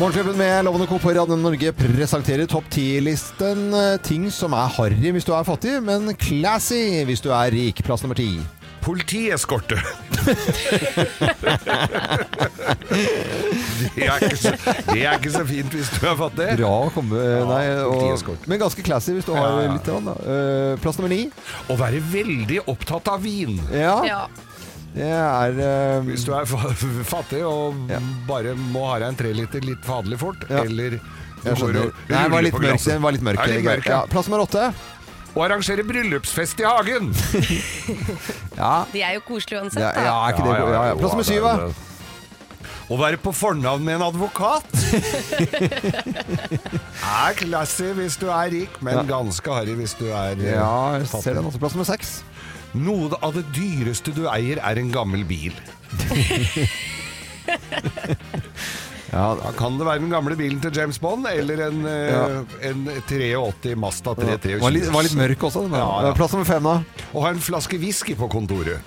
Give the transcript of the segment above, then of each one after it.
Morgenklubben med Lovende Co. på Radio Norge presenterer topp 10-listen. eh, Ting som er harry hvis du er fattig, men classy hvis du er rik. Plass nummer ti. Politieskorte. det, er ikke så, det er ikke så fint hvis du er fattig. Bra å komme eh, nei, og, politieskorte. Men ganske classy hvis du har Ja, ja. litt. grann, Da. Eh, plass nummer ni. Å være veldig opptatt av vin Ja, Ja. det er eh, hvis du er fa- fattig og Ja. bare må ha deg en treliter litt faderlig fort, Ja. eller Jeg går skjønner. Nei, og det var ruller litt på mørkt. glasset. Den var litt mørk. Ja, litt Geir. mørk, ja. ja. Plass nummer åtte. Å arrangere bryllupsfest i hagen! Ja. De er jo koselige uansett, Ja, da. ja, er ikke det ja, ja. Plass nummer syv, da. Å være på fornavn med en advokat er classy hvis du er rik, men Ja. ganske harry hvis du er eh, Ja, jeg fattig. ser den også. Plass nummer seks. Noe av det dyreste du eier, er en gammel bil. Ja, Da kan det være den gamle bilen til James Bond, eller en, eh, Ja. en 83 Mazda det var litt, var litt 323. mørk også. Den, der. Ja, ja. Plass nummer fem, da. Og ha en flaske whisky på kontoret.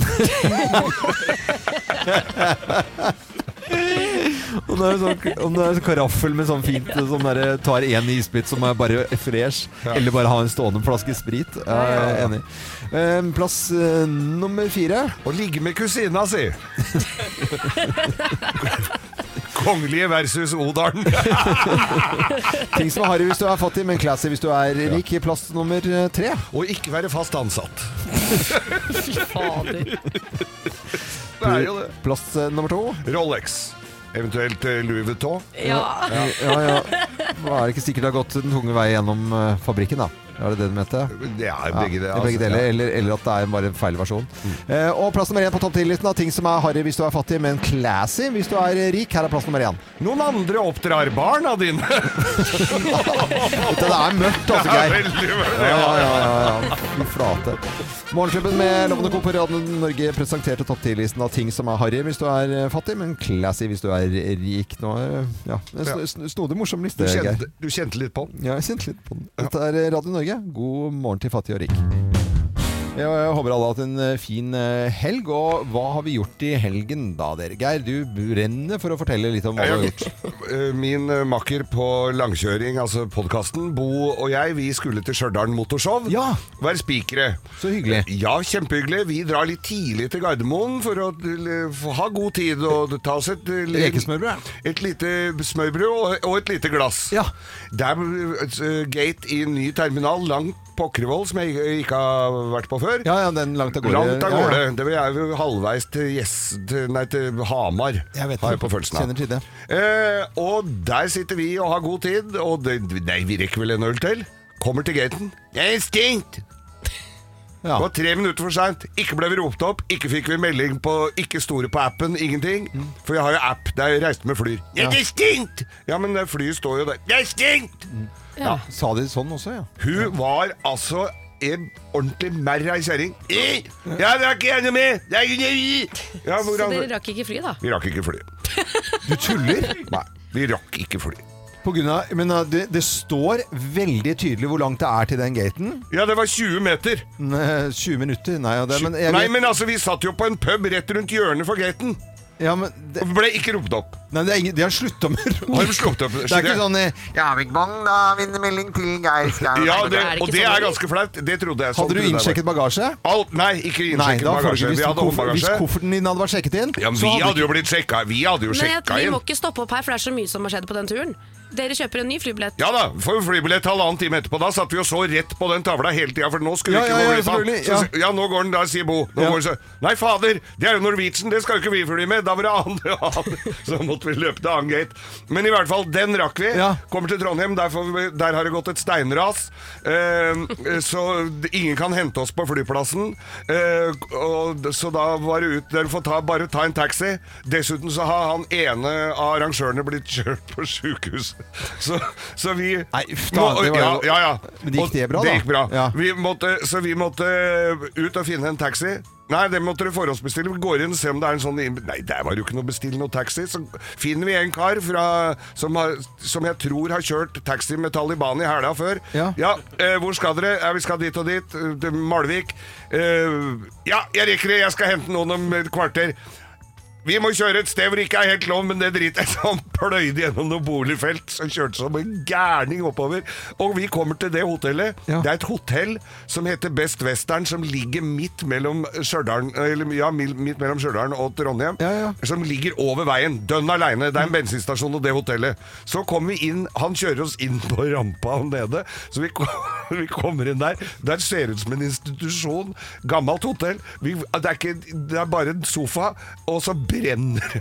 Om det er sånn, om det er sånn karaffel med sånn fint Som der, tar én isbit som er bare fresh, Ja. eller bare ha en stående flaske sprit. Ja, jeg er enig. Eh, Plass eh, nummer fire. Og ligge med kusina si. Kongelige versus Odalen. Ting som er harry hvis du er fattig, men classy hvis du er rik. Plass nummer eh, tre. Og ikke være fast ansatt. Fy fader. Det er jo det. Plass eh, nummer to. Rolex. Eventuelt eh, Louis Vuitton. Ja. Ja, Eh, ja. Da er det ikke sikkert det har gått den tunge vei gjennom eh, fabrikken, da. Er det det du mente? Det er Ja, begge, i det, altså. Mm. begge deler, eller, eller at det er bare en feil versjon. Eh, og plass nummer én på topp 10-listen av ting som er harry hvis du er fattig, men classy hvis du er rik. Her er plass nummer én. Noen andre oppdrar barna dine. Dette er mørkt, altså, Det er Geir. veldig Ja, veldig. ja, ja. ja. Fy flate. Morgenklubben med Lovende Co. på Radio Norge presenterte topp 10-listen av ting som er harry hvis du er eh, fattig, men classy hvis du er rik. Nå er det ja, en sn- sn- snodig morsom Du liste, Geir. kjente, du kjente litt på den. Ja, jeg kjente litt på den. Dette er eh, Radio Norge. God morgen til fattig og rik. Jeg jeg håper alle har hatt en eh, fin eh, helg. Og hva har vi gjort i helgen da, dere? Geir, du brenner for å fortelle litt om hva du har gjort. Eh, Min eh, makker på langkjøring, altså podkasten, Bo og jeg, vi skulle til Stjørdal Motorshow. Ja. Være spikere. Så hyggelig. Ja, kjempehyggelig. Vi drar litt tidlig til Gardermoen for å eh, få- ha god tid og ta oss et eh, Rekesmørbrød. Et lite smørbrød og, og et lite glass. Ja. Det er eh, gate i en ny terminal langt Pokkervoll, som jeg ikke- ikke har vært på før. Ja, ja, den langt av gårde. Langt Ja, av ja. gårde. Det vil jeg jo halvveis til, Gjess- til- nei, til Hamar. Jeg vet har det. jeg på følelsen av. Kjenner til det. Eh, og der sitter vi og har god tid, og det, nei, vi rekker vel en øl til? Kommer til gaten. Det er stengt! Ja. Det var tre minutter for seint. Ikke ble vi ropt opp. Ikke fikk vi melding på Ikke store på appen. Ingenting. Mm. For jeg har jo app der jeg reiste med Flyr. Ja. Det er stengt! Ja, men det flyet står jo der. Det er stengt! Mm. Ja. Sa de sånn også, ja? Hun var altså en ordentlig merra ei kjerring. Eh, Jeg er ikke enig med! Det er ikke det vi- Ja, Så dere hvordan rakk ikke fly, da? Vi rakk ikke fly. Du tuller? Nei, vi rakk ikke fly. På grunn av, men uh, det, det står veldig tydelig hvor langt det er til den gaten. Ja, det var 20 meter. Nei, 20 minutter, nei. ja, Det, men jeg, Nei, vet- men altså, vi satt jo på en pub rett rundt hjørnet for gaten. ja, men det, Og ble ikke ropt opp. nei, det er ingen, de har slutta med Har de slått opp? Det er ikke sånn eh, Ja, Big Bong, da vinner melding til Geir Skau. Ja, det, Er det ikke og det sånn? er ganske flaut. Det trodde jeg. sånn Hadde du trodde jeg innsjekket bagasje? var. Alt, nei, ikke Nei, innsjekket da får du bagasje. ikke Vi hvis, hadde koffer, hvis håndbagasje. kofferten din hadde vært sjekket inn. Ja, men så vi hadde hadde jo blitt sjekka. Vi hadde jo Nei, jeg- sjekka vi inn. må ikke stoppe opp her, for det er så mye som har skjedd på den turen. Dere kjøper en ny flybillett. Ja da, får vi flybillett halvannen time etterpå. Da satt vi og så rett på den tavla hele tida, for nå skulle Ja, vi ja, ikke ja, gå glipp av. selvfølgelig, Så ja. s- Ja, nå går den da, sier Bo. Nå Ja. går den så, Nei, fader, det er jo Norwegian, det skal jo ikke vi fly med. Da var det andre. Så måtte lot vi løpe til annen gate. Men i hvert fall, den rakk vi. Ja. Kommer til Trondheim, der, får vi, der har det gått et steinras. Eh, så d- ingen kan hente oss på flyplassen. Eh, og, d- så da var det ut Dere får ta, bare ta en taxi. Dessuten så har han ene av arrangørene blitt kjørt på sjukehus. Så, så vi Nei, uff da, det var ja, jo- ja, ja. Men det gikk Og det bra, Det da? gikk bra. Ja. Vi måtte, så vi måtte ut og finne en taxi. Nei, det måtte dere forhåndsbestille. Vi går inn og ser om det er en sånn inn- Nei, der var det jo ikke noe å bestille noe taxi. Så finner vi en kar fra, som, har, som jeg tror har kjørt taxi med Taliban i hæla før. Ja. eh, hvor skal dere? Ja, vi skal dit og dit. eh, til Malvik. Eh, ja, jeg rekker det. Jeg skal hente noen om et kvarter. Vi må kjøre et sted hvor det ikke er helt lov, men det driter jeg i. Så Han pløyde gjennom noen boligfelt som kjørte som en gærning oppover. Og vi kommer til det hotellet. Ja. Det er et hotell som heter Best Western, som ligger midt mellom Stjørdal eller, ja, mil- midt mellom Stjørdal og Trondheim. Ja, ja. Mm. Som ligger over veien, dønn aleine. Det er en bensinstasjon og det hotellet. Så kommer vi inn, han kjører oss inn på rampa nede. Så vi, kom, vi kommer inn der. Der ser det ut som en institusjon. Gammelt hotell. Vi, det, er ikke, det er bare en sofa, og så brenner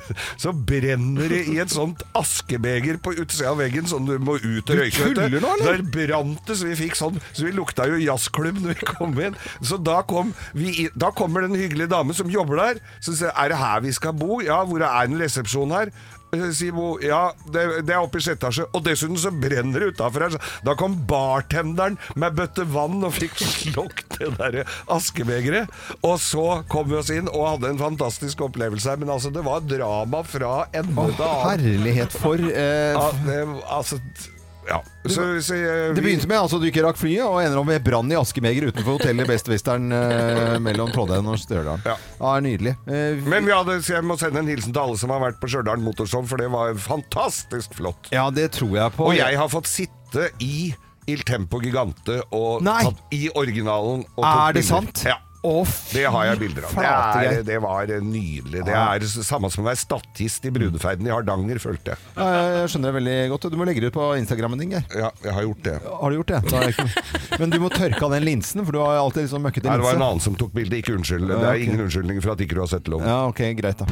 Så brenner det i et sånt askebeger på utsida av veggen, sånn du må ut og røyke. vet tuller nå, eller? Der brant det, så vi fikk sånn Så vi lukta jo jazzklubb når vi kom inn. Så da, kom vi, i- da kommer det en hyggelig dame som jobber der. Så sier jeg, er det her vi skal bo? Ja, hvor er en resepsjon her? Eh, Sier Bo, ja, det, det er oppe i sjette etasje. Og dessuten så brenner det utafor her. så- Da kom bartenderen med bøtte vann og fikk slokk det derre askebegeret. Og så kom vi oss inn og hadde en fantastisk opplevelse her. Men altså, det var drama fra Å, ende til annen. herlighet for eh, Ja, det- Altså, t- ja. Så, så, eh, Det vi- begynte med altså, at du ikke rakk flyet, og ender opp med brann i askemeger utenfor hotellet Best Western eh, mellom Trondheim og Stjørdal. Ja. Ja, nydelig. Eh, vi- Men vi hadde, så jeg må sende en hilsen til alle som har vært på Stjørdal Motorshow, for det var fantastisk flott. ja, det tror jeg på. Og jeg har fått sitte i Il Tempo Gigante og Nei. tatt i originalen. Og tatt er det bilder. sant? Ja. Å, fy Det har jeg bilder av. flate, Det, Geir. er, det var nydelig. Det Ja. er det samme som å være statist i brudeferden i Hardanger, følte jeg. Ja, jeg skjønner det veldig godt. Du må legge det ut på Instagrammen din, Geir. Ja, jeg har gjort det. Har du gjort det? Da er det ikke... Men du må tørke av den linsen, for du har alltid liksom møkkete Nei, det var en linse. annen som tok bildet. Ikke unnskyld. Det Ja, er ok. ingen unnskyldning for at ikke du har sett loven. Ja, ok, greit da.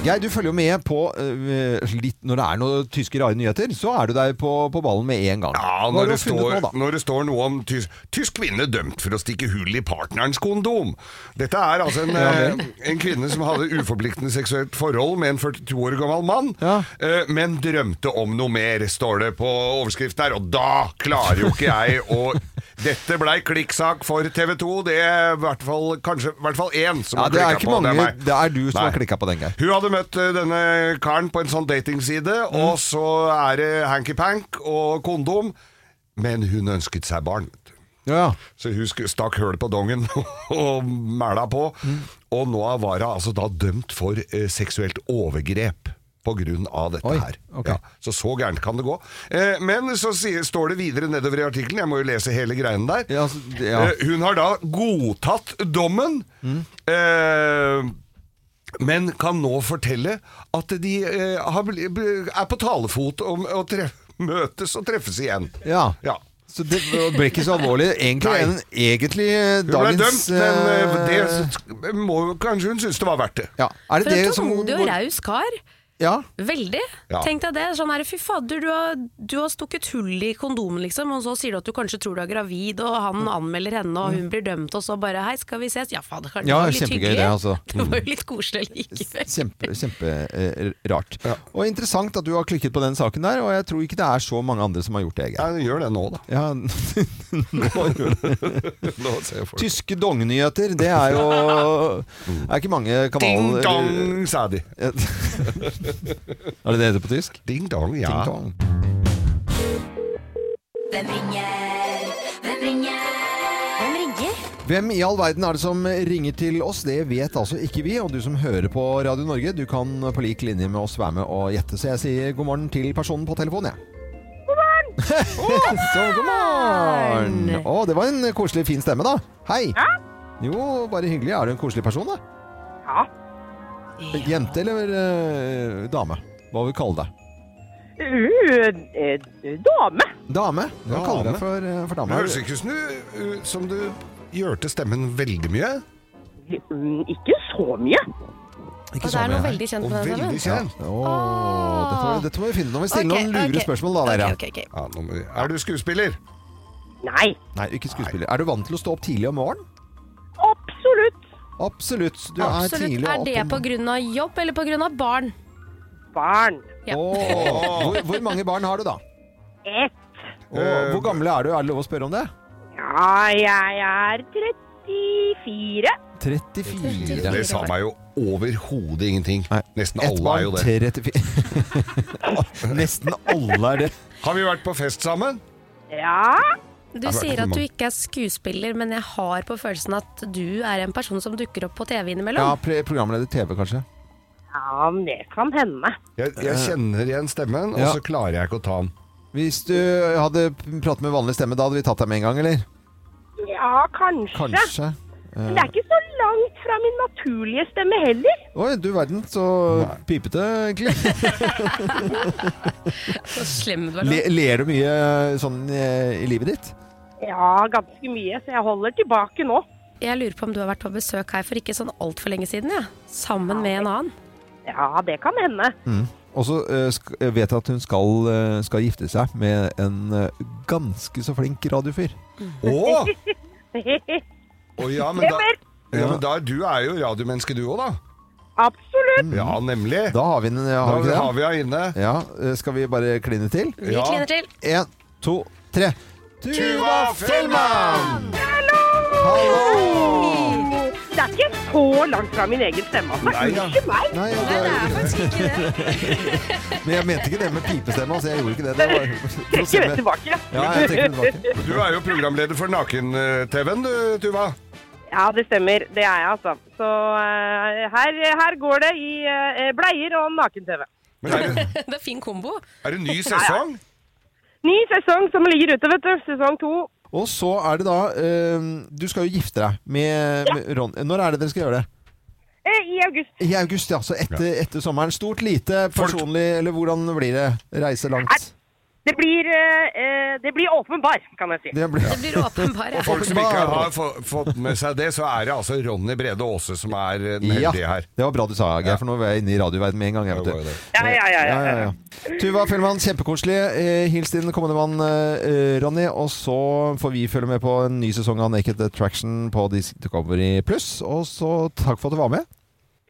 Geir, du følger jo med på øh, litt, Når det er noen tyske rare nyheter, så er du der på, på ballen med en gang. Ja, Hva har når du det, funnet står, nå, da? når det står noe om tysk, tysk kvinne dømt for å stikke hull i partnerens kondom. Dette er altså en, eh, en kvinne som hadde uforpliktende seksuelt forhold med en 42 år gammel mann, Ja. eh, men drømte om noe mer, står det på overskriften her. Og da klarer jo ikke jeg å Dette blei klikksak for TV 2. Det er i hvert fall kanskje i hvert fall én som Ja, har det er klikka ikke på. mange. meg. Det er du som har Nei. klikka på den, Geir. Hun hadde møtt eh, denne karen på en sånn datingside, og så er det hanky-pank og kondom. Men hun ønsket seg barn. vet du. Ja, Så hun sku- stakk høl på dongen og mæla på. Og nå var hun altså da dømt for eh, seksuelt overgrep. På grunn av dette Oi, her. ok. så så gærent kan det gå. Eh, men så sier, står det videre nedover i artikkelen, jeg må jo lese hele greien der. Ja, altså, ja. Eh, hun har da godtatt dommen. Eh, men kan nå fortelle at de eh, har, bli- er på talefot om å tre møtes og treffes igjen. ja. Ja. Så det ble ikke så alvorlig egentlig Nei. enn egentlig eh, Hun ble dagens dømt, men eh, eh, det s- må jo kanskje hun synes det var verdt det. ja. Er For det en det som tålmodig og raus kar. Ja. Veldig. Ja. Tenk deg det. Sånn her, fy fader, du har, du har stukket hull i kondomen, liksom, og så sier du at du kanskje tror du er gravid, og han anmelder henne, og hun blir dømt, og så bare hei, skal vi ses? Ja, fader, kanskje Ja, det var litt kjempegøy hyggelig. det, altså. Det var jo litt koselig likevel. Kjempe, kjempe eh, rart. Og interessant at du har klikket på den saken der, og jeg tror ikke det er så mange andre som har gjort det. Geir. Ja, hun gjør det nå, da. Ja, nå gjør det. Nå ser folk. Tyske dongnyheter, det er jo Det er ikke mange Ding kanaler dong, sa de. Er det det det heter på tysk? Ding dong, ja. Ding dong. Hvem ringer? Hvem ringer? Hvem ringer? Hvem i all verden er det som ringer til oss? Det vet altså ikke vi. Og du som hører på Radio Norge, du kan på lik linje med oss være med og gjette. Så jeg sier god morgen til personen på telefonen, jeg. God morgen! Så god morgen! Å, det var en koselig, fin stemme, da. Hei. Jo, bare hyggelig. Er du en koselig person, da? Ja. Jente eller eh, dame? Hva vil vi kalle deg? Uh, eh, dame. Dame. Hva kaller vi Dame. deg for, eh, for Det dame? høres ikke ut som du, ut som du gjørte stemmen veldig mye. Mm, Ikke så mye. Ikke Og det er noe samme. veldig kjent Og med den veldig sangen. kjent. Åh, dette, må, dette må vi finne ut. Nå må vi stille Ok, noen lure ok. spørsmål, da, dere. Ok, ok, ok. Ja, nå må vi- er du skuespiller? Nei, Nei, ikke skuespiller. Er du vant til å stå opp tidlig om morgenen? absolutt Absolutt. Du er Absolutt. tidlig Er det opp. om- pga. jobb eller pga. barn? barn. Ja. Åh, hvor, hvor mange barn har du, da? Ett. Eh, Åh, hvor gamle er du? Er det lov å spørre om det? Ja, jeg er 34. 34. Det sa meg jo overhodet ingenting. Nei. Nesten Ett alle er jo barn, det. 34 Nesten alle er det. Har vi vært på fest sammen? Ja, Du sier at du ikke er skuespiller, men jeg har på følelsen at du er en person som dukker opp på TV Ja, innimellom. pre- programleder TV, kanskje. ja men det kan hende. Jeg, jeg kjenner igjen stemmen, og Eh, Ja. så klarer jeg ikke å ta den. Hvis du hadde pratet med vanlig stemme, da hadde vi tatt deg med en gang, eller? Ja, kanskje. Kanskje. Men det er ikke så langt fra min naturlige stemme heller. Oi, du verden, så pipete, egentlig. Så slem du er nå. Le, ler du mye sånn eh, i livet ditt? Ja, ganske mye, så jeg holder tilbake nå. Jeg lurer på om du har vært på besøk her for ikke sånn altfor lenge siden, ja. sammen med en annen. Ja, det kan hende. Og så eh, sk- jeg vet jeg at hun skal, eh, skal gifte seg med en eh, ganske så flink radiofyr. Å! Å ja, men da, Stemmer. ja, men da du er jo radiomenneske du òg, da. Absolutt. Ja, nemlig. Mm. Da har vi den, ja, Da har vi ikke har det? vi henne inne. Ja, eh, skal vi bare kline til? Vi Ja. kliner til. Én, to, tre. Tuva Fellmann! Hallo! Det er ikke så langt fra min egen stemme. altså. Nei, ja. Unnskyld meg. Nei, ja, Nei, det det- er faktisk ikke det. men jeg mente ikke det med pipestemme. Altså, jeg gjorde ikke det. det var, for å se Trekker det med- tilbake. ja, jeg trekker det tilbake. Du er jo programleder for Naken-TV-en, du, Tuva. Ja, det stemmer. Det er jeg, altså. Så eh, her, her går det i eh, bleier og naken-TV. Men er det, Det er fin kombo. er det ny sesong? Ny sesong som ligger ute, vet du. Sesong to. Og så er det da eh, Du skal jo gifte deg med, med Ron. Når er det dere skal gjøre det? eh, I august. I august, ja. Så etter, etter sommeren. Stort, lite, Folk- personlig, eller hvordan blir det? Reise langt? Det blir, eh, eh, det blir åpenbar, kan jeg si. Det blir, Det blir åpenbar. ja. Folk som ikke har få, fått med seg det, så er det altså Ronny Brede Aase som er eh, den ja. heldige her. Det var bra du sa, Geir, for nå var jeg inne i radioverden med en gang. Jeg, Det vet var jo du. det. Ja, ja, ja. Ja, ja, ja, ja. Tuva Fellmann, kjempekoselig. Eh, Hils din kommende mann eh, Ronny. Og så får vi følge med på en ny sesong av Naked Attraction på Discovery Pluss. Og så takk for at du var med.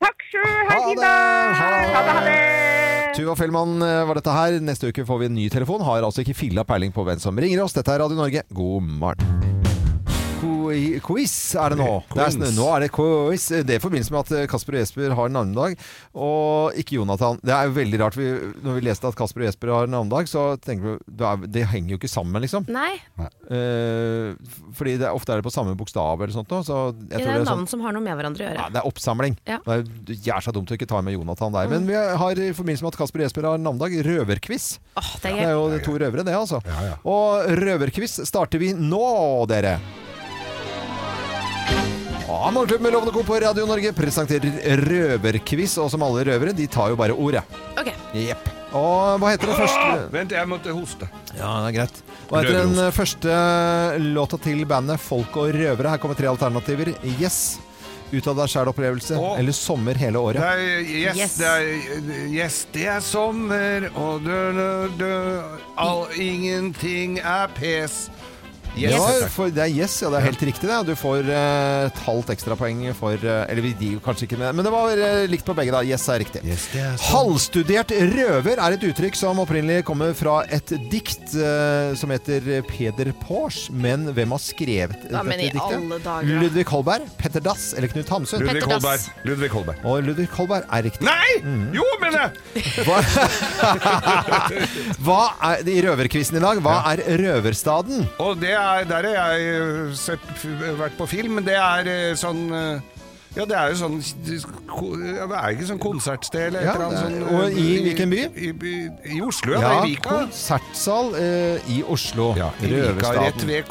Takk sjøl. Ha en Ha fin det. dag. Ha det. Ha det. Ha det. Tuva Fellmann eh, var dette her. Neste uke får vi en ny telefon. Har altså ikke filla peiling på hvem som ringer oss. Dette er Radio Norge. God morgen. Qui- Quiz er det nå. Det er, Quiz. sn- nå er det quiz. Det er i forbindelse med at eh, Kasper og Jesper har navnedag, og ikke Jonathan. Det er jo veldig rart. Vi, når vi leste at Kasper og Jesper har navnedag, så tenker vi det, er, det henger jo ikke sammen, liksom. Nei, Eh, f- fordi det, er- ofte er det på samme bokstav eller sånt nå, så jeg tror det er det jo er sånn navn som har noe med hverandre å ja, gjøre. det er oppsamling. Ja. Det er jævla dumt å ikke ta med Jonathan der. Men vi har i forbindelse med at Kasper og Jesper har navnedag, røverquiz. Åh, det Det er er gøy. jo to røvere, det, altså. Ja, ja. Og røverquiz starter vi nå, dere. Ja, Morgenklubben med Lovende Co på Radio Norge presenterer røverquiz, og som alle røvere, de tar jo bare ordet. Ok. Jepp. Og hva heter den første Vent, jeg måtte hoste. Ja, det er greit. Hva heter den første eh, låta til bandet Folk og røvere? Her kommer tre alternativer. Yes. Ut av deg sjæl-opplevelse. Å. Eller sommer hele Det året. er, yes, Yes. Det er, yes, det er sommer, og dø, dø, dø, all, ingenting er pes. Yes. Ja, for det er yes, ja, det er helt riktig det. Og Du får eh, et halvt ekstrapoeng for eh, Eller vi gir jo kanskje ikke med, men det var eh, likt på begge, da. Yes er riktig. Yes, det er sånn. sommer. Halvstudert røver er et uttrykk som opprinnelig kommer fra et dikt eh, som heter Peder Pors. Men hvem har skrevet Ja, men i dette diktet? alle dager. da. Ludvig Holberg, Petter Dass eller Knut Hamsun? Ludvig Petter Holberg. Dass. Ludvig Holberg. Mm. Og Ludvig Holberg er riktig. Nei! Jo, men eh, jeg! Hva, hva er, I røverquizen i dag, hva er røverstaden? Og det er, der har jeg øh, sett, f- vært på film. Det er øh, sånn øh, Ja, det er jo sånn ko- ja, Det er ikke sånn konsertsted eller et Ja, eller annet det er- sånn og øh, i hvilken by? I, i, i Oslo, ja. det er I Vika. konsertsal eh, i Oslo. Ja, i Vika, rett ved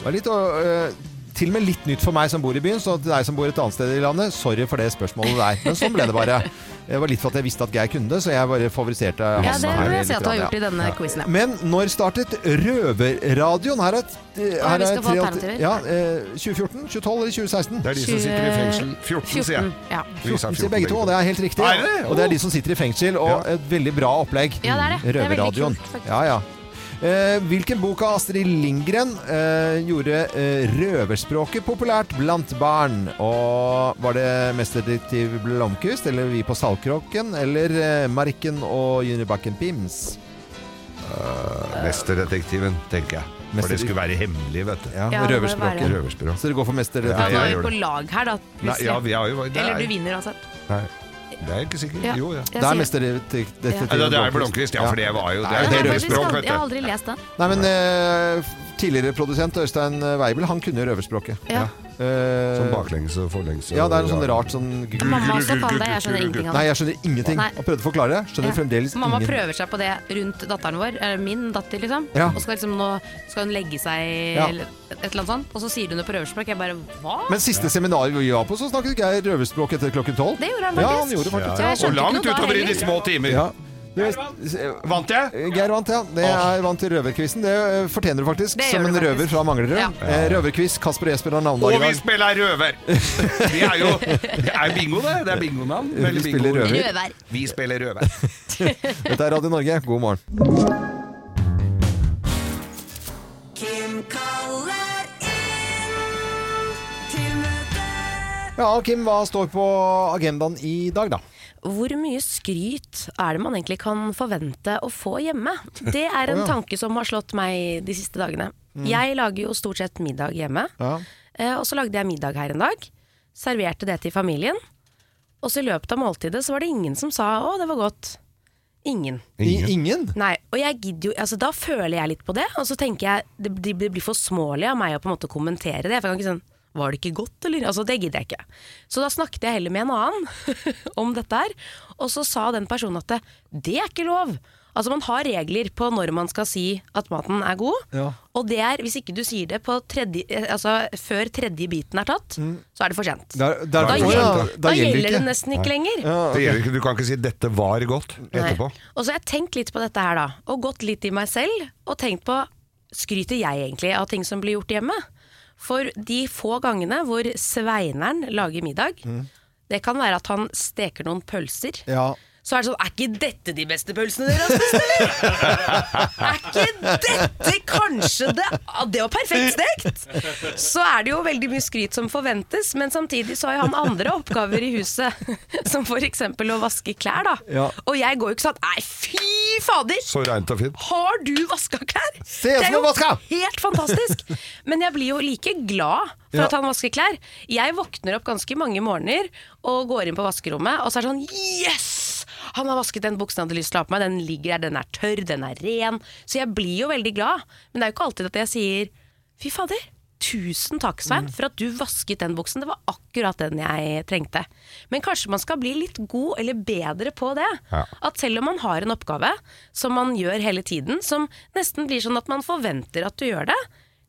Ja. Det var Litt, å, eh, til og med litt nytt for meg som bor i byen, så til deg som bor et annet sted i landet, sorry for det spørsmålet der. Men sånn ble det bare. Det var litt for at jeg visste at Geir kunne det, så jeg bare favoriserte Ja, han det her vil jeg si litt at du har grann, gjort i denne quizen, ja. Men når startet Røverradioen? Her er, her vi er skal få tre alt- alternativer. Ja, eh, 2014, 2012 eller 2016? Det er de som sitter i fengsel. 14, sier 14. jeg. Ja. Vi sa 14, sier begge to, og det er helt riktig. Er det det? Og det er de som sitter i fengsel, og et veldig bra opplegg. Ja, det er det. Det er veldig Røverradioen. kult, faktisk. Ja, ja. Eh, hvilken bok av Astrid Lindgren eh, gjorde eh, røverspråket populært blant barn? Og var det mesterdetektiv Blomkvist, eller Vi på Saltkråken, eller eh, Marken og Junibakken Pims? Mesterdetektiven, tenker jeg. For det skulle være hemmelig, vet du. Ja, Ja, det må jo røverspråket. være. Røverspråk. Så dere går for Ja, Da mesterdetektiv? jeg var vi gjør på det. lag her, da. Nei, plutselig. ja, vi har jo det Eller du er, vinner, altså. Nei, det er jeg ikke sikkert. Ja. Jo, ja. Jeg Det sier- er mesterdetektiv Ja. Ja, det er Blomkvist, ja, for det var jo det, Nei, er Jeg jo har det er deres faktisk språk, aldri- vet Jeg har du. aldri lest den. Nei, men eh, f- tidligere produsent Øystein Weibel, han kunne jo røverspråket. Ja. Eh, Sånn baklengs og forlengs. og- ja, det er noe sånn rart sånn gu- Mamma også kan det, jeg skjønner ingenting av Nei, jeg det. skjønner ingenting. Nei. Jeg prøvde å forklare det. Skjønner Ja. fremdeles Mamma ingen- prøver seg på det rundt datteren vår, eller min datter, liksom. Ja. Og skal liksom nå skal hun legge seg, Ja. eller et eller annet sånt. Og så sier hun det på røverspråk. Jeg bare hva? Men siste seminaret vi var på, så snakket Geir røverspråk etter klokken tolv. Det gjorde han Ja, han faktisk. gjorde faktisk Så det. jeg skjønte Og ikke langt noe da utover i heller. de små timer. Ja. Det- Vant jeg? Geir vant, ja. Det er vant til røverquizen. Det eh, fortjener du faktisk, Det gjør som du en faktisk. røver fra Manglerud. Ja. Eh, Røverquiz. Kasper Jesper har Og navnedag i vi dag. spiller røver! Det er jo det er bingo, det. Det er bingonavn. Eller spiller bingo. røver. Røver. Vi spiller røver. Dette er Radio Norge, god morgen. Kim kaller inn til møte. Ja, Kim, hva står på agendaen i dag, da? Hvor mye skryt er det man egentlig kan forvente å få hjemme? Det er Å, en ja. Mm. tanke som har slått meg de siste dagene. Jeg lager jo stort sett middag hjemme, Ja. eh, og så lagde jeg middag her en dag. Serverte det til familien, og så i løpet av måltidet så var det ingen som sa 'å, det var godt'. Ingen. I, ingen? Nei, og jeg gidder jo, altså da føler jeg litt på det, og så tenker jeg, det, det, det blir for smålig av meg å på en måte kommentere det, for jeg kan ikke sånn, var det ikke godt, eller? Altså, det gidder jeg ikke. Så da snakket jeg heller med en annen om dette her, og så sa den personen at det, det er ikke lov. Altså, man har regler på når man skal si at maten er god, Ja. og det er, hvis ikke du sier det på tredje, eh, altså, før tredje biten er tatt, så er det for sent. Da, da, Mm. Da, Å, gjelder, ja. da, gjelder det nesten ikke lenger. Det gjelder ikke, du kan ikke si 'dette var godt' Nei. etterpå. Og så har jeg tenkt litt på dette her, da. Og gått litt i meg selv. Og tenkt på skryter jeg egentlig av ting som blir gjort hjemme? For de få gangene hvor Sveineren lager middag, det kan være at han steker noen pølser. Ja. Så er det sånn Er ikke dette de beste pølsene dere har spist, eller? Er ikke dette kanskje det ah, Det var perfekt stekt! Så er det jo veldig mye skryt som forventes, men samtidig så har jo han andre oppgaver i huset. Som f.eks. å vaske klær, da. Ja. Og jeg går jo ikke sånn Nei, fy fader! Så reint og fint. Har du vaska klær? Se som du vaska! helt fantastisk. Men jeg blir jo like glad for Ja. at han vasker klær. Jeg våkner opp ganske mange morgener og går inn på vaskerommet, og så er det sånn Yes! Han har vasket den buksen jeg hadde lyst til å ha på meg. Den ligger der, den er tørr, den er ren. Så jeg blir jo veldig glad. Men det er jo ikke alltid at jeg sier Fy fader. Tusen takk, Svein, for at du vasket den buksen. Det var akkurat den jeg trengte. Men kanskje man skal bli litt god eller bedre på det. Ja. At selv om man har en oppgave som man gjør hele tiden, som nesten blir sånn at man forventer at du gjør det,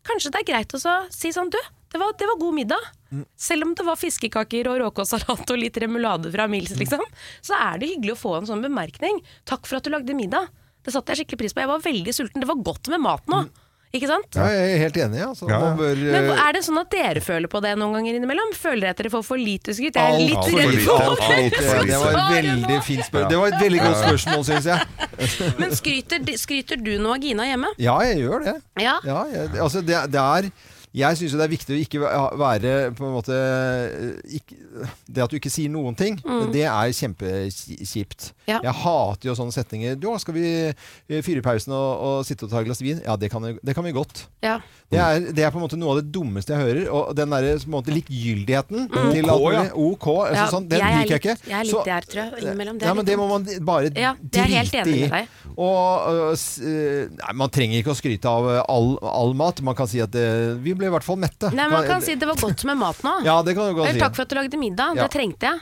kanskje det er greit å så si sånn Du, det var, det var god middag. Mm. Selv om det var fiskekaker og råkåsalat og litt remulade fra Mils, Mm. liksom, så er det hyggelig å få en sånn bemerkning. Takk for at du lagde middag. Det satte jeg skikkelig pris på. Jeg var veldig sulten. Det var godt med mat nå. Mm. Ikke sant? Ja, jeg er helt enig. Altså. Ja, ja. Man bør, Men eh, er det sånn at dere føler på det noen ganger innimellom? Føler dere at dere får for lite skryt? Jeg eh, er Alt litt for redd lite, for alt for lite. det, det var et veldig fint spørsmål. Det var et veldig godt spørsmål, syns jeg. Men skryter, skryter du nå av Gina hjemme? Ja, jeg gjør det. Ja. Ja, jeg, altså det, det er jeg syns det er viktig å ikke væ- være på en måte eh, ikke, Det at du ikke sier noen ting, det er kjempekjipt. Mm. Ja. Jeg hater jo sånne setninger. Du, 'Skal vi eh, fyre i pausen og, og sitte og ta et glass vin?' Ja, det kan, vi- det kan vi godt. Ja. Mm. Det er, det er på en måte noe av det dummeste jeg hører. Og den derre på en måte likegyldigheten til alt OK, ja. mulig. OK, altså, Mm. Ja, sånn, den jeg er liker jeg ikke. litt- jeg er litt der, tror jeg, innimellom. Det er ja, litt men det må man bare Ja, jeg er helt drite enig i. med deg. Og, øh, s- øh, nei, man trenger ikke å skryte av øh, all, all mat. Man kan si at øh, vi ble i hvert fall mette. Nei, men Man kan si det var godt med mat nå. Ja, det kan du godt Eller si. takk for at du lagde middag. Ja. Det trengte jeg.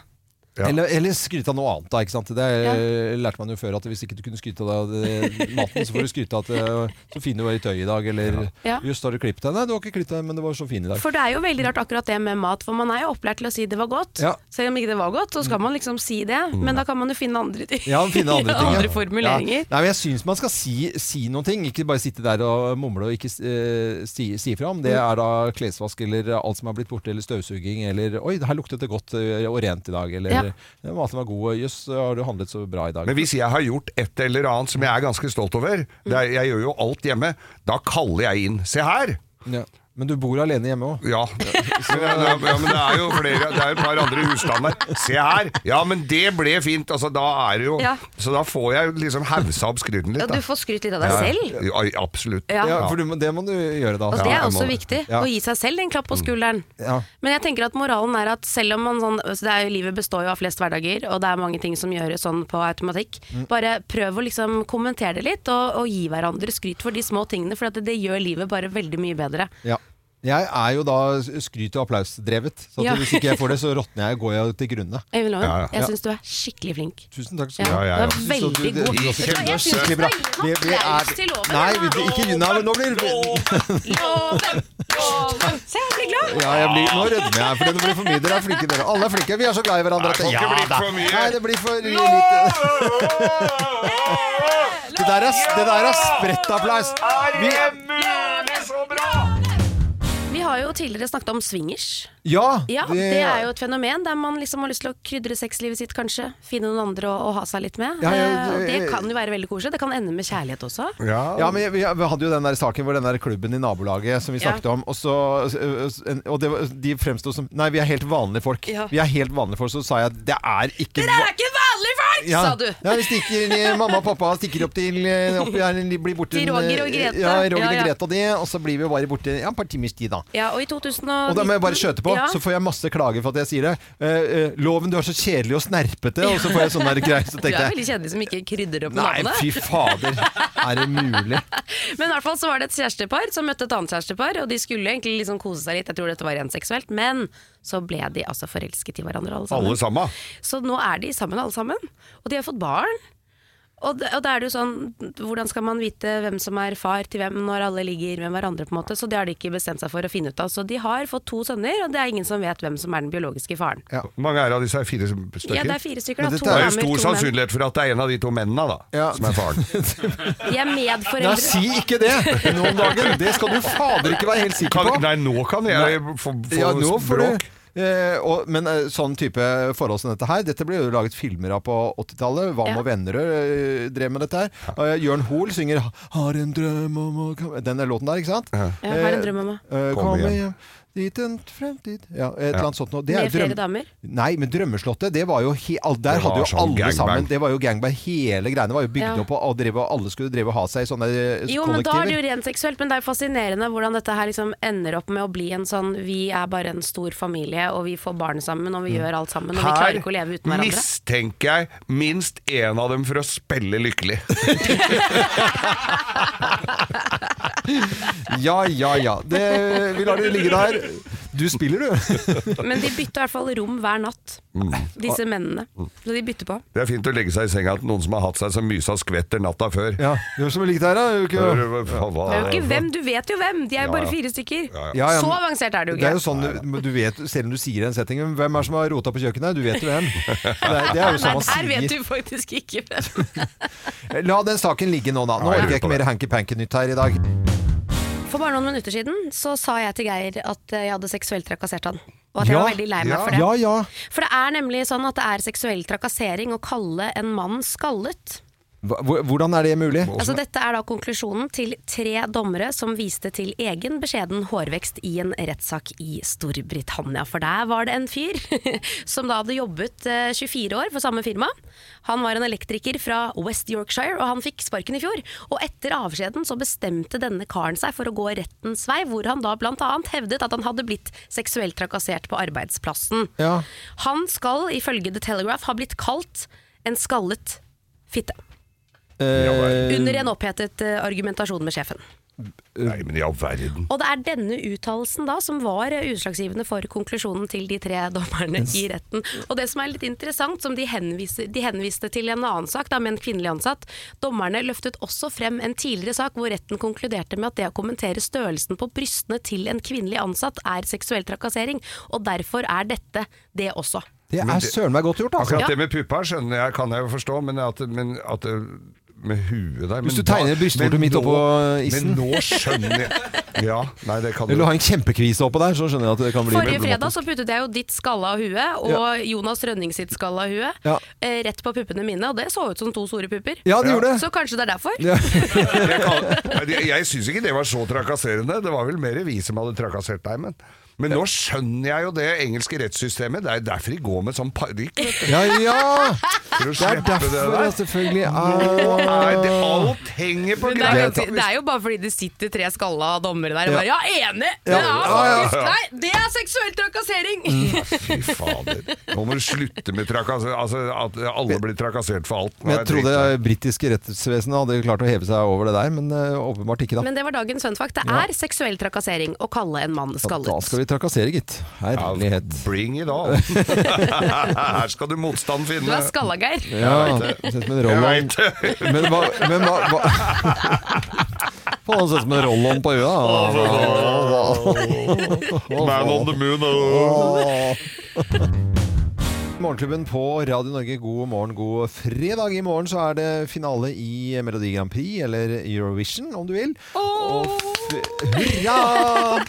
Ja. Eller, eller skryte av noe annet, da. ikke sant? Det eh, lærte man jo før at hvis ikke du kunne skryte av det- maten, så får du skryte av at eh, så fin du var i tøyet i dag, eller Ja. just har du klippet deg. Nei, du har ikke klippet deg, men det var så fin i dag. For det er jo veldig rart akkurat det med mat, for man er jo opplært til å si det var godt. Ja. Selv om ikke det var godt, så Mm. skal man liksom si det. Men da kan man jo finne andre ting. Ja, finne andre ting. ja. formuleringer. Ja. Nei, men jeg syns man skal si, si noen ting, ikke bare sitte der og mumle og ikke eh, si, si fra om. Det Mm. er da klesvask eller alt som er blitt borte, eller støvsuging, eller 'oi, her luktet det godt eh, og rent i dag', eller eh, Ja. «Ja, 'maten var god', og 'jøss, har du handlet så bra i dag'. Men hvis jeg har gjort et eller annet som jeg er ganske stolt over, det er, jeg gjør jo alt hjemme, da kaller jeg inn. Se her! ja. men du bor alene hjemme òg. Ja. Så, ja, men det er jo flere, det er jo et par andre husstander. Se her! Ja, men det ble fint! Altså, da er det jo Ja. Så da får jeg jo liksom hausa opp skryten Ja, du litt, da. får skryt litt av deg selv. Ja, absolutt. Ja. Ja, for du, må- det må du gjøre da. Og Altså, det er Ja, også må- viktig. Ja. Å gi seg selv en klapp Mm. på skulderen. Ja. Men jeg tenker at moralen er at selv om man sånn så det er, jo- Livet består jo av flest hverdager, og det er mange ting som gjøres sånn på automatikk. Mm. Bare prøv å liksom kommentere det litt, og, og gi hverandre skryt for de små tingene. For at det, det gjør livet bare veldig mye bedre. Ja. Jeg er jo da skryt- og applausdrevet. Så at Ja. hvis ikke jeg får det, så råtner jeg og går jeg til grunne. Øyvind Loven, Ja, ja. jeg syns du er skikkelig flink. Tusen takk. skal Ja, du ha. ja, ja. Du Så du- er veldig det- god. du- Kjempe- Vet du hva, jeg synes Skikkelig bra. Vi, Vi- vi er- til loven, Nei, da. vi, ikke Nei, nå blir det Loven, loven. Se, jeg blir glad! ja, jeg blir, Nå rødmer jeg, for det blir for mye. Dere er flinke, dere. Alle er flinke. Vi er så glad i hverandre. at Nei, det kan ikke bli da. for mye. Nei, det blir for eh. lite. Det der er, det der er spredt applaus. Vi, mulig så bra! Vi har jo tidligere snakket om swingers. ja, Ja, det, er jo et fenomen der man liksom har lyst til å krydre sexlivet sitt, kanskje. Finne noen andre å, å ha seg litt med. Ja, ja, Eh, og det, det- kan jo være veldig koselig. Det kan ende med kjærlighet også. Ja, men vi vi hadde jo den der saken hvor den der klubben i nabolaget som vi snakket om, og, så, og det, var- de fremsto som Nei, vi er helt vanlige folk. Ja. Vi er helt vanlige folk, så sa jeg det er ikke Dere er ikke vanlige folk, ja. sa du! Ja, vi stikker, de- mamma og pappa stikker opp til eh, opp, ja, de blir borte, eh, Til Roger og Grete. Ja, Roger Ja, ja. og Grete og de, og så blir vi bare borte ja, et par timers tid, da. Ja, og i 2019 Og da må jeg bare skjøte på, Ja. så får jeg masse klager for at jeg sier det. Eh, eh, loven, du er så kjedelig og snerpete, og så får jeg sånn der greier. Så Du tenkte er jeg veldig kjedelig som ikke krydder opp med Nei, navnet. fy fader. Er det mulig? Men i hvert fall så var det et kjærestepar som møtte et annet kjærestepar, og de skulle egentlig liksom kose seg litt, jeg tror dette var rent seksuelt, men så ble de altså forelsket i hverandre alle sammen. Alle sammen. Så nå er de sammen alle sammen, og de har fått barn. Og, d- og da er det jo sånn, hvordan skal man vite hvem som er far til hvem når alle ligger med hverandre, på en måte, så det har de ikke bestemt seg for å finne ut av. Så de har fått to sønner, og det er ingen som vet hvem som er den biologiske faren. Hvor mange er det av disse? Er Fire stykker? Ja, det er fire stykker, Men da. dette To Det er jo damer, stor to menn. sannsynlighet for at det er en av de to mennene da, Ja. som er faren. De er Nei, medforeldre. si ikke det nå om dagen! Det skal du fader ikke være helt sikker Kan, på. nei, nå kan jeg få, få Ja, nå får bråk. du Eh, og, men eh, sånn type forhold som dette her Dette ble jo laget filmer av på 80-tallet. Hva med Ja. Vennerød eh, drev med dette her. Eh, Jørn Hoel synger 'Har en drøm om å komme Den der låten der, ikke sant? Ja, har en drøm om å- Eh, Kom Komme hjem. hjem dit en fremtid Ja, et eller annet sånt noe. Det er Med drøm- flere damer? Nei, men Drømmeslottet, det var jo he al- Der Det var hadde jo sånn alle gangbang. sammen Det var jo gangbang. Hele greiene var jo bygd Ja. opp, og, og, drev, og alle skulle drive og ha seg i sånne eh, Jo, men da er det kollektiver. jo rent seksuelt, men det er fascinerende hvordan dette her liksom ender opp med å bli en sånn vi er bare en stor familie, og vi får barn sammen, og vi gjør alt sammen, og vi klarer ikke å leve uten hverandre. mistenker jeg minst én av dem for å spille lykkelig. Ja, ja, ja. Det, vi lar det ligge der. Du spiller, du. Men de bytter i hvert fall rom hver natt, Mm. disse mennene. Så de bytter på. Det er fint å legge seg i senga til noen som har hatt seg så mye som skvetter natta før. Ja, Hvem som ligger der, da? Er det jo ikke- Hører du hva- hva- Det er jo ikke hvem, du vet jo hvem! De er jo bare fire stykker. Ja, ja, Så men- avansert er det jo Det er jo ikke. sånn, du- du vet, Selv om du sier en setting men Hvem er det som har rota på kjøkkenet? Du vet jo hvem. Det er, det er jo sånn Nei, man der vet du sier. faktisk ikke hvem. La den saken ligge nå, da. Nå Ja, orker jeg jeg lurer på ikke mer det. hanky-panky-nytt her i dag. For bare noen minutter siden så sa jeg til Geir at eh, jeg hadde seksuelt trakassert han. Og at jeg var veldig lei meg for det. Ja, ja. For det er nemlig sånn at det er seksuell trakassering å kalle en mann skallet. Hva- hvor- Hvordan er det mulig? Altså, dette er da konklusjonen til tre dommere som viste til egen beskjeden hårvekst i en rettssak i Storbritannia. For der var det en fyr som da hadde jobbet eh, 24 år for samme firma. Han var en elektriker fra West Yorkshire, og han fikk sparken i fjor. Og etter avskjeden så bestemte denne karen seg for å gå rettens vei, hvor han da bl.a. hevdet at han hadde blitt seksuelt trakassert på arbeidsplassen. Ja. Han skal ifølge The Telegraph ha blitt kalt en skallet fitte. Ja, Eh, vel. Under en opphetet eh, argumentasjon med sjefen. Nei, men i all verden. Og det er denne uttalelsen da som var eh, utslagsgivende for konklusjonen til de tre dommerne i retten. Og det som er litt interessant, som de, henviser, de henviste til en annen sak da, med en kvinnelig ansatt, dommerne løftet også frem en tidligere sak hvor retten konkluderte med at det å kommentere størrelsen på brystene til en kvinnelig ansatt er seksuell trakassering, og derfor er dette det også. det er søren meg godt gjort, altså. Akkurat det med puppa skjønner jeg, kan jeg jo forstå, men at, men at det- med huet der Hvis men du tegner da- brystvorte men midt nå- oppå isen. Men nå skjønner jeg Ja, nei, det kan Vil du du ha en kjempekvise oppå der, så skjønner jeg at det kan bli Forrige fredag problematisk. så puttet jeg jo ditt skalla hue og Jonas Rønning sitt skalla hue Ja. eh, rett på puppene mine, og det så ut som to store pupper. Ja, det Ja. gjorde det. Så kanskje det er derfor? Ja. Jeg, kan- jeg, jeg syns ikke det var så trakasserende. Det var vel mer vi som hadde trakassert deg, men men nå skjønner jeg jo det engelske rettssystemet. Det er derfor de går med sånn parykk. vet du, Ja, ja! Det For å er slippe det derfor jeg der. selvfølgelig Nå er det, er alt henger på Men det, er, greip. ganske- det er jo bare fordi det sitter tre skalla dommere der og bare Ja, enig! Det Ja. er Ja, ja, Mm. faktisk Nei, det er seksuell trakassering! Fy fader. Nå må du slutte med trakassering. Altså, at alle blir trakassert for alt. Nå Men er jeg trodde dritt. det britiske rettsvesenet hadde klart å heve seg over det der, men eh, åpenbart ikke, da. Men det var dagens fun fact. Det er seksuell trakassering å kalle en mann Da skallet. skal vi trakassere, gitt. Herlighet. Bring it on. Her skal du motstand Du finne. er skalla, Geir. Ja, Jeg vet det. sett som en Jeg roll-on. vet det. Men hva, men hva, hva? Faen, han ser ut som en roll-on på øya. Man on the moon. oh. Morgenklubben på Radio Norge, god morgen, god fredag. I morgen så er det finale i Melodi Grand Prix, eller Eurovision om du vil. Og f- hurra!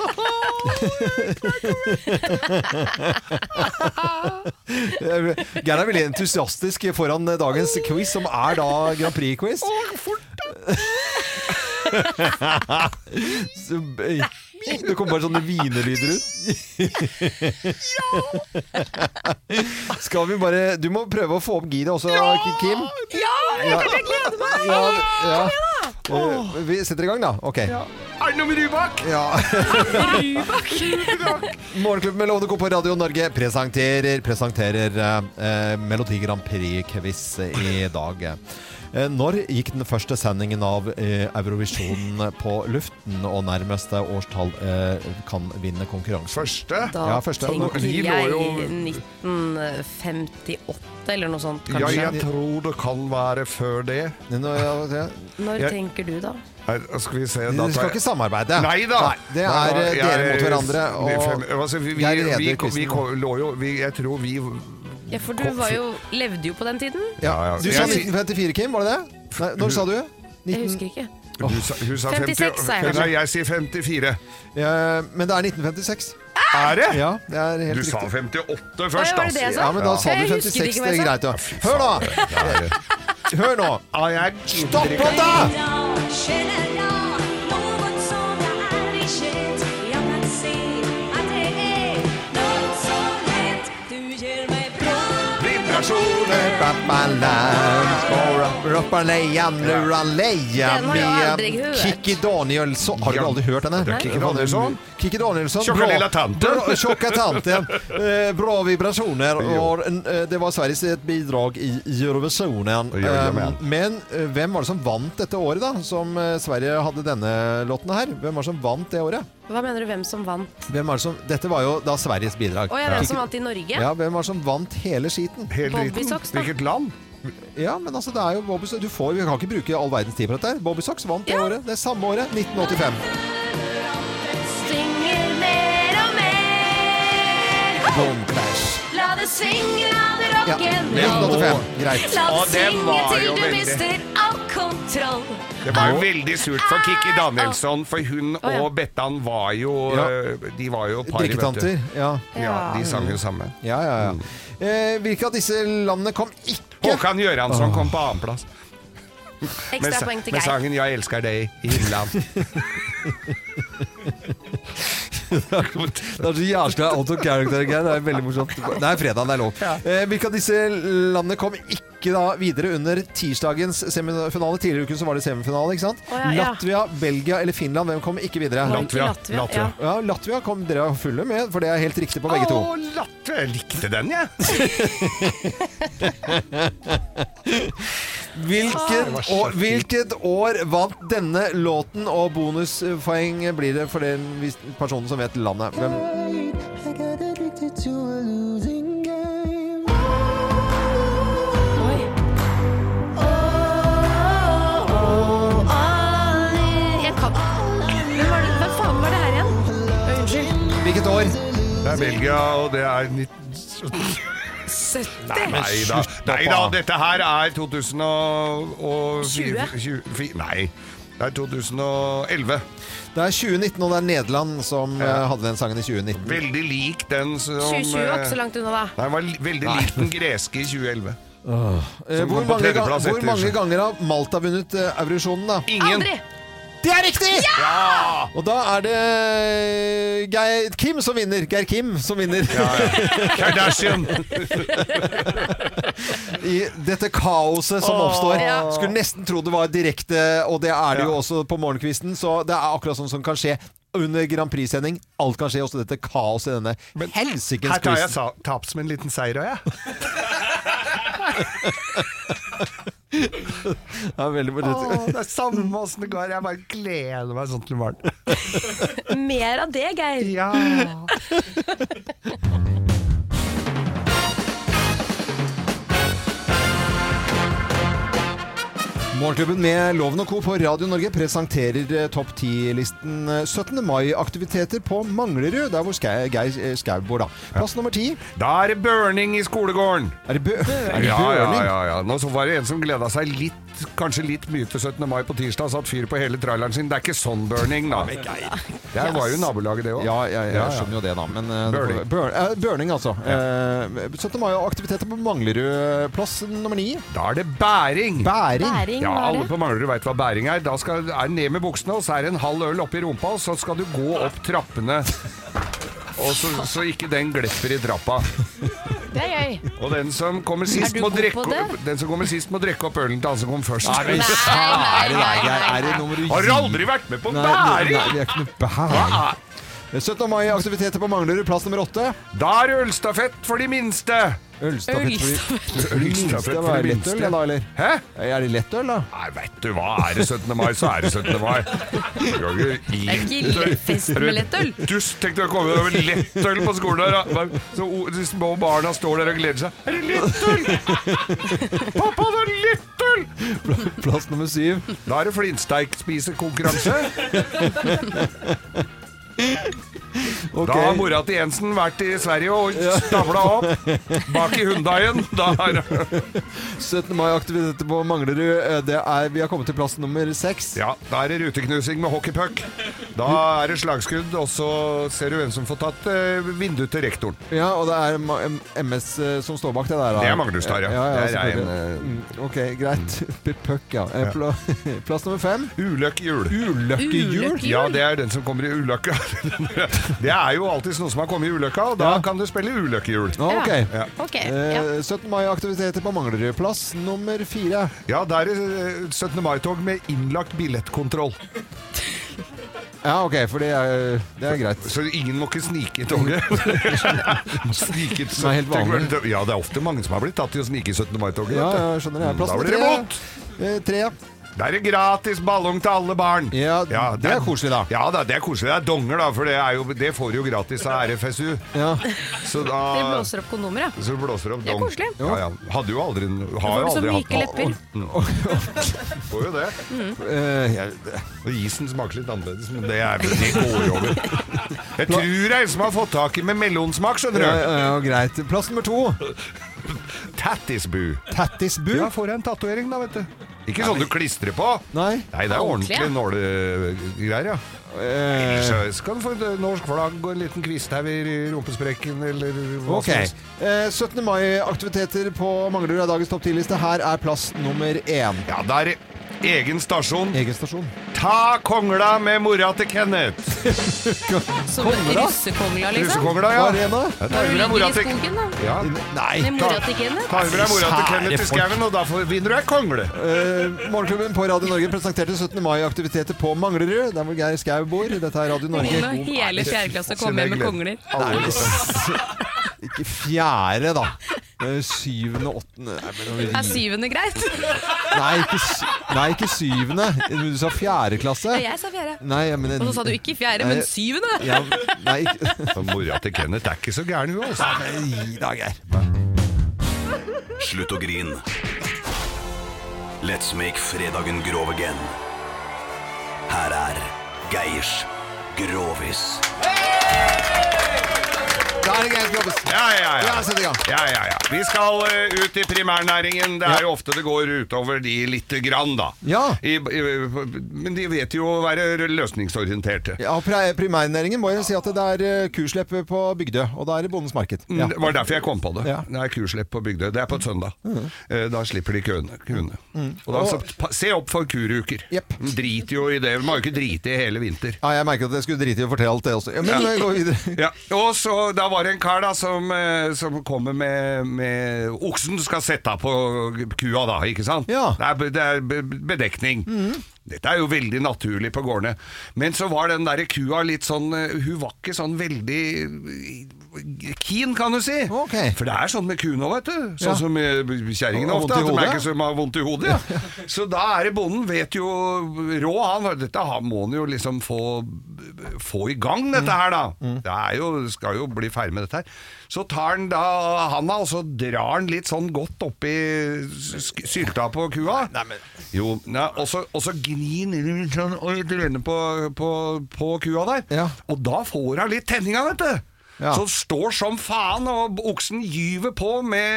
Geir er veldig entusiastisk foran dagens quiz, som er da Grand Prix-quiz. Så- eh, Det kom bare sånne hvinelyder ut. Skal vi bare Du må prøve å få opp giret også, Kim. Ja, jeg gleder meg! Ja, ja. Eh, Vi setter i gang, da. Ok. Arne Rybak! Ja. Morgenklubben med Lovende Co på Radio Norge presenterer, presenterer eh, Melodi Grand Prix-quiz i dag. Eh, Når gikk den første sendingen av eh, Eurovisjonen på luften, og nærmeste årstall eh, kan vinne konkurransen? Første. Da Ja, første. tenker Vi lå jeg jo- 1958 eller noe sånt, Ja, kanskje. jeg tror det kan være før det. Nå, ja, Når jeg- tenker du, da? Her, skal vi se Dere skal ikke samarbeide. Nei da! det er eh, Jeg- dere mot hverandre. fem- Og altså, vi, vi, Geir vi, leder vi, quizen. lå jo vi, Jeg tror vi Ja, for du var jo, levde jo på den tiden. ja, ja, ja. Du sa Jeg sier- 1954, Kim? Var det det? Nei, når sa du? 19... Jeg husker ikke. du sa, Hun sa 56, sa jeg. Nei, jeg sier 54. Ja, men det er 1956. Er det? Ja, det er helt Du riktig. sa 58 Å, Ah! ja, først, var det det jeg sa? Ja, men da Ja. sa du Jeg husker 56, ikke det hva er jeg sa. greit. Ja. Hør nå! Hør nå! Stopp opp, da! Vibrasjoner. Den Den har jeg aldri hørt. Kikki Danielsson Har du Ja. aldri hørt henne? Det er Kikki Danielsson. Kikki Danielsson. Tjocka bra- lilla tanten. bra- Tjocka tanten. Eh, Bra vibrationer. Og, eh, det var Sveriges et bidrag i Eurovisionen. Jajamän. Eh, Men eh, hvem var det som vant dette året, da? Som eh, Sverige hadde denne låten her. Hvem var det som vant det året? Hva mener du, hvem som vant? Hvem er det som, dette var jo da Sveriges bidrag. Å ja, hvem som vant i Norge? Ja, hvem var det som vant hele skiten? Helt Bobby liten. Socks, da. Hvilket land? Ja, men altså, det er jo Bobby Socks. Du får, vi kan ikke bruke all verdens tid på dette. her. Bobby Socks vant det året. Det er samme året. 1985. Synger mer og mer. Boom Clash. La det synge, la det Ja, rock'n'roll. 1985. Greit. La Å, det det synge var til jo du veldig- mister all kontroll. Det var jo veldig surt for Kikki Danielsson, for hun Ah! ja. og Bettan var jo Ja. eh, De var jo par, Drikketanter. Ja, Ja, de sang jo sammen. ja, ja. ja. Eh, hvilke av disse landene kom ikke Håkan Gjøransson kom på annenplass med, Ekstra sa- poeng til med Geir. sangen 'Jeg elsker deg i Himmeland'. Det er så jævla out of character, Geir. Det er veldig morsomt. Nei, fredag, det er lov. Eh, hvilke av disse landene kom ikke da videre under tirsdagens semifinale? Tidligere i uken så var det semifinale, ikke sant? Å, ja, ja. Latvia, Belgia eller Finland, hvem kom ikke videre? Oi, Latvia. Latvia, Latvia. Ja, Latvia kom dere fulle med, for det er helt riktig på begge to. Å, Latvia. Jeg likte den, jeg. Hvilket, år, hvilket år vant denne låten, og bonuspoeng blir det for den hvis- personen som vet landet. Hvem? Jeg kan Hvem var det, hva faen var det her igjen? Unnskyld. Hvilket år? Det er Belgia, og det er 1970 Nei da. Nei da, dette her er 2020 Nei, det er 2011. Det er 2019, og det er Nederland som eh, hadde den sangen i 2019. Veldig lik den som 2020 var ikke så eh, langt unna, da. Nei, den var li- veldig lik den greske i 2011. Eh, Som Hvor kom på mange, ga- tredjeplass hvor etter- mange ganger har Malta vunnet eh, Eurovisjonen, da? Ingen! Aldri! Det er riktig! Og da er det eh, Geir Kim som vinner. Geir Kim som vinner. Kardashian! I dette kaoset som oppstår. Ja. Skulle nesten tro det var direkte, og det er det jo Ja. også på morgenkvisten. Så det er akkurat sånn som kan skje under Grand Prix-sending. Alt kan skje, også dette kaoset i denne helsikens Her tar jeg quizen. sa- tap som en liten seier òg, jeg. Det er veldig bra. Å, det er samme åssen det går, jeg bare gleder meg sånn til i morgen. Mer av det, Geir. Ja. Morgenklubben med Loven og Co. på Radio Norge presenterer eh, Topp 10-listen eh, 17. mai-aktiviteter på Manglerud, der hvor Skau- Geir eh, Skau bor, da. Plass nummer ti. Da er det burning i skolegården. Er det bø... Er det Ja, ja, bøling? ja, ja. Nå så var det en som gleda seg litt, kanskje litt mye til 17. mai på tirsdag, satt fyr på hele traileren sin. Det er ikke sånn burning, da. Det var jo nabolaget, det òg. Ja, jeg, jeg skjønner jo det, da. Men eh, Burning. det får- bør, eh, burning, altså. Eh, 17. mai og aktiviteter på Manglerud. eh, Plass nummer ni. Da er det bæring. Bæring. Bæring Ja, var alle det. på Manglerud veit hva bæring er. Da skal, er det ned med buksene, og så er det en halv øl oppi rumpa, og så skal du gå opp trappene. Og så, så ikke den glepper i trappa. Det er gøy. Og den som kommer sist, Er du må god drikke, på opp- den som kommer sist må drikke opp ølen til han som kom først. Nei, kjære deg, Geir. Er det nummer Har du aldri vært med på Nei, nei, bæring? Ah. nei, det er ikke noe bæring. 17. mai aktiviteter på Manglerud. Plass nummer åtte. Da er det ølstafett for de minste. Ølstafett for de minste. Ølstafett for Er de det minste. lettøl, da, eller? Eh, Hæ? Er det lettøl, da? Nei, vet du hva. Er det 17. mai, så er det 17. mai. Det er jo ikke Det er ikke lett fest med lettøl. Dust, tenkte jeg å komme over lettøl på skolen her. da. Bare- Så o- de små barna står der og gleder seg. Er det lettøl? Pappa, det er lettøl! Plass nummer syv. Da er det flintsteikspisekonkurranse. Ok. Da har mora til Jensen vært i Sverige og stavla opp bak i Hundaien. Da er, 17. mai aktiviteter på Manglerud. Eh, Det er, vi har kommet til plass nummer seks. ja, da er det ruteknusing med hockeypuck. Da er det slagskudd, og så ser du hvem som får tatt eh, vinduet til rektoren. Ja, og det er Ma- M- MS eh, som står bak det der. da. Det er Magnustad, ja. ja, ja Det er Mm. selvfølgelig. en, eh, Mm, ok, greit. Puck, ja. Eh, pla- Plass nummer fem. Uløkkjul. Ulykkehjul. Ulykkehjul. eh, Ja, det er den som kommer i uløkka. Det er jo alltid noen som har kommet i uløkka, og da Ja. kan du spille ulykkehjul. Ah, ok. Ja. Ok. Ja. Eh, 17. mai-aktiviteter på Manglerud. Plass nummer fire. Ja, da er det eh, 17. mai-tog med innlagt billettkontroll. Ja, ok, for det er, det er greit. Så ingen må ikke snike i toget. snike i Det er helt vanlig. Tenk, Ja, det er ofte mange som har blitt tatt i å snike i 17. mai-toget. Ja, vet du. ja, skjønner jeg. Plass Mm, Da nummer blir det tre. mot. Eh, tre. Da er det gratis ballong til alle barn. Ja, det er koselig, da. Ja, da, det er koselig. Det er donger, da, for det, er jo, det får du jo gratis av RFSU. Ja. Så da Det blåser opp kondomer, ja. Så du blåser opp er dong. koselig. Ja, ja. Hadde jo aldri Har jo får aldri liksom hatt myke lepper. Mm. Får jo det. Eh, jeg- Og isen smaker litt annerledes, men det, er, det går over. Jeg tror det er en som har fått tak i med melonsmak, skjønner ja, du. ja, ja, greit. Plass nummer to. Tattisbu. Tattisbu. Ja, får jeg en tatovering, da, vet du. Ikke sånn du klistrer på. Nei. Nei, det er ordentlig nålegreier, ja. Eh, Så skal du få et norsk flagg og en liten kvist her i rumpesprekken, eller hva Ok. som helst. Eh, 17. mai-aktiviteter på Manglerud er dagens topp 10-liste. Her er plass nummer én. Ja, da er det egen stasjon. Egen stasjon. Ta kongla med mora til Kenneth. Som russekongla, liksom. Russekongla, ja. Arena? Ja, Ta Når med du deg mora ligger i til skogen, da. Ja. Nei. Med mora til Kenneth. Ta med deg mora til Sære Kenneth i folk. skauen, og da får- vinner du ei kongle. Eh, Morgenklubben på Radio Norge presenterte 17. mai-aktiviteter på Manglerud, der hvor Geir Skau bor. Dette er Radio Norge. Når hele fjerdeklasse Siden kommer jeg hjem med gleder- kongler. Nei, ikke fjerde, da. eh, syvende, åttende Nei, men nå- Er syvende greit? nei, ikke, sy- nei, ikke syvende. Du sa fjerde klasse. Jeg sa fjerde. Nei, jeg mener- Og så sa du ikke fjerde, men Nei, syvende. Ja, nei, ikke- Og Mora til Kenneth er ikke så gæren, hun, altså. Gi deg, Geir. Slutt å grin. Let's make fredagen grov again. Her er Geirs Grovis. Da er det greit jobbes. Ja, ja, ja. Ja, sett i gang. Ja, ja, ja. Vi skal eh, ut i primærnæringen. Det er jo ofte det går utover de lite grann, da. Ja. I, i, men de vet jo å være løsningsorienterte. Ja, pri- primærnæringen må jeg si at det er eh, kuslepp på Bygdø, og da er det Bondens Marked. Ja. Det var derfor jeg kom på det. Ja. Det er kurslepp på Bygdøy. Det er på et søndag. Eh, Da slipper de køene. køene. Mm. Og da, så, pa- se opp for kuruker. Jepp. De driter jo i det. De har jo ikke driti i hele vinter. Ja, jeg merket at jeg skulle drite i å fortelle alt det også. Ja, men vi går videre. Ja. Og så Da var det en kar da som, eh, som kommer med, med Oksen skal sette av på kua, da, ikke sant? Ja. Mhm. Det er, be- det er be- bedekning. Dette er jo veldig naturlig på gårdene. Men så var den derre kua litt sånn eh, Hun var ikke sånn veldig eh, keen, kan du si. Ok. For det er sånn med kuene òg, vet du. Ja. Sånn som eh, kjerringene Og- og ofte. vondt i At de hodet. er ikke så har vondt i hodet. Ja. Så da er det bonden vet jo rå, han. Dette har- må han jo liksom få, få i gang, dette her, da. Mm. Det er jo, skal jo bli ferdig med dette her. Så tar han da handa, og så drar han litt sånn godt oppi sk- sylta på kua. Jo, ja, og så, og så gnir han rundt sånn og drøner på, på, på kua der. Ja. Og da får hun litt tenninga, vet du. Ja. Så står som faen, og oksen gyver på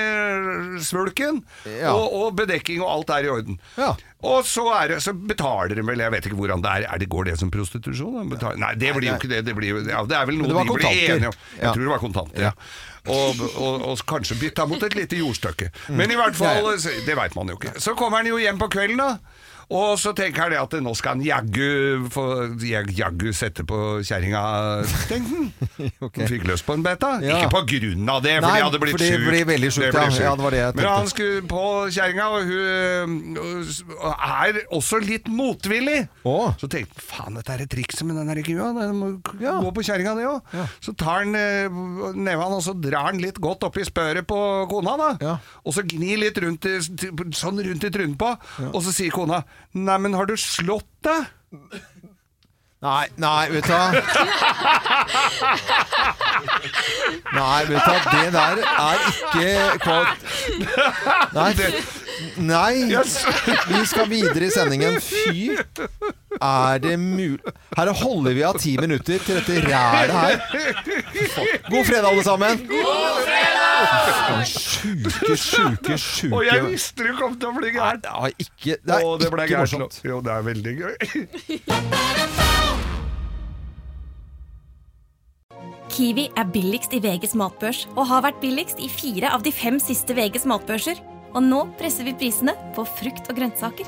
med svulken. Ja. Og, og bedekking og alt er i orden. Ja. Og så, er det, så betaler de vel, jeg vet ikke hvordan det er, er det, går det som prostitusjon? da? Betal- Nei, det blir jo ikke det, det blir jo ja, Det er vel det noe var de blir kontanter. enige om. Jeg Ja. tror det var kontanter, ja. Og, og, og kanskje bytta mot et lite jordstykke. Men i hvert fall, Mm. Ja, ja. så- det veit man jo ikke. Så kommer han jo hjem på kvelden, da. Og så tenker han det at nå skal han jaggu få- jag- jaggu sette på kjerringa, tenkte han. Ok. Han fikk lyst på en beta. Ja. Ikke på grunn av det, for Nei, det hadde blitt for det sjukt. blir veldig sjukt, ja. Ja, det var det jeg Men tenkte. han skulle på kjerringa, og hun øh, er også litt motvillig. Å. Så tenkte han faen, dette er et trikset med den her kua. Den må k- Ja. gå på kjerringa, det òg. Så tar han øh, neven og så drar han litt godt oppi spøret på kona, da. Ja. Og så gnir litt rundt i, sånn rundt i trynet på, og så sier kona Neimen, har du slått deg? Nei, nei, vet du hva. Nei, vet du hva, det der er ikke kvalt... Nei, nei, Yes. vi skal videre i sendingen. Fy, er det mulig? Her holder vi av ti minutter til dette rælet her. God fredag, alle sammen. God fredag! Sjuke, sjuke, Og jeg sjuke. visste du kom til å bli Nei, gæren. det er ikke, det Og det er ble ikke gærent. nå. morsomt. Jo, det er veldig gøy. Kiwi er billigst i VGs matbørs og har vært billigst i fire av de fem siste VGs matbørser. Og nå presser vi prisene på frukt og grønnsaker.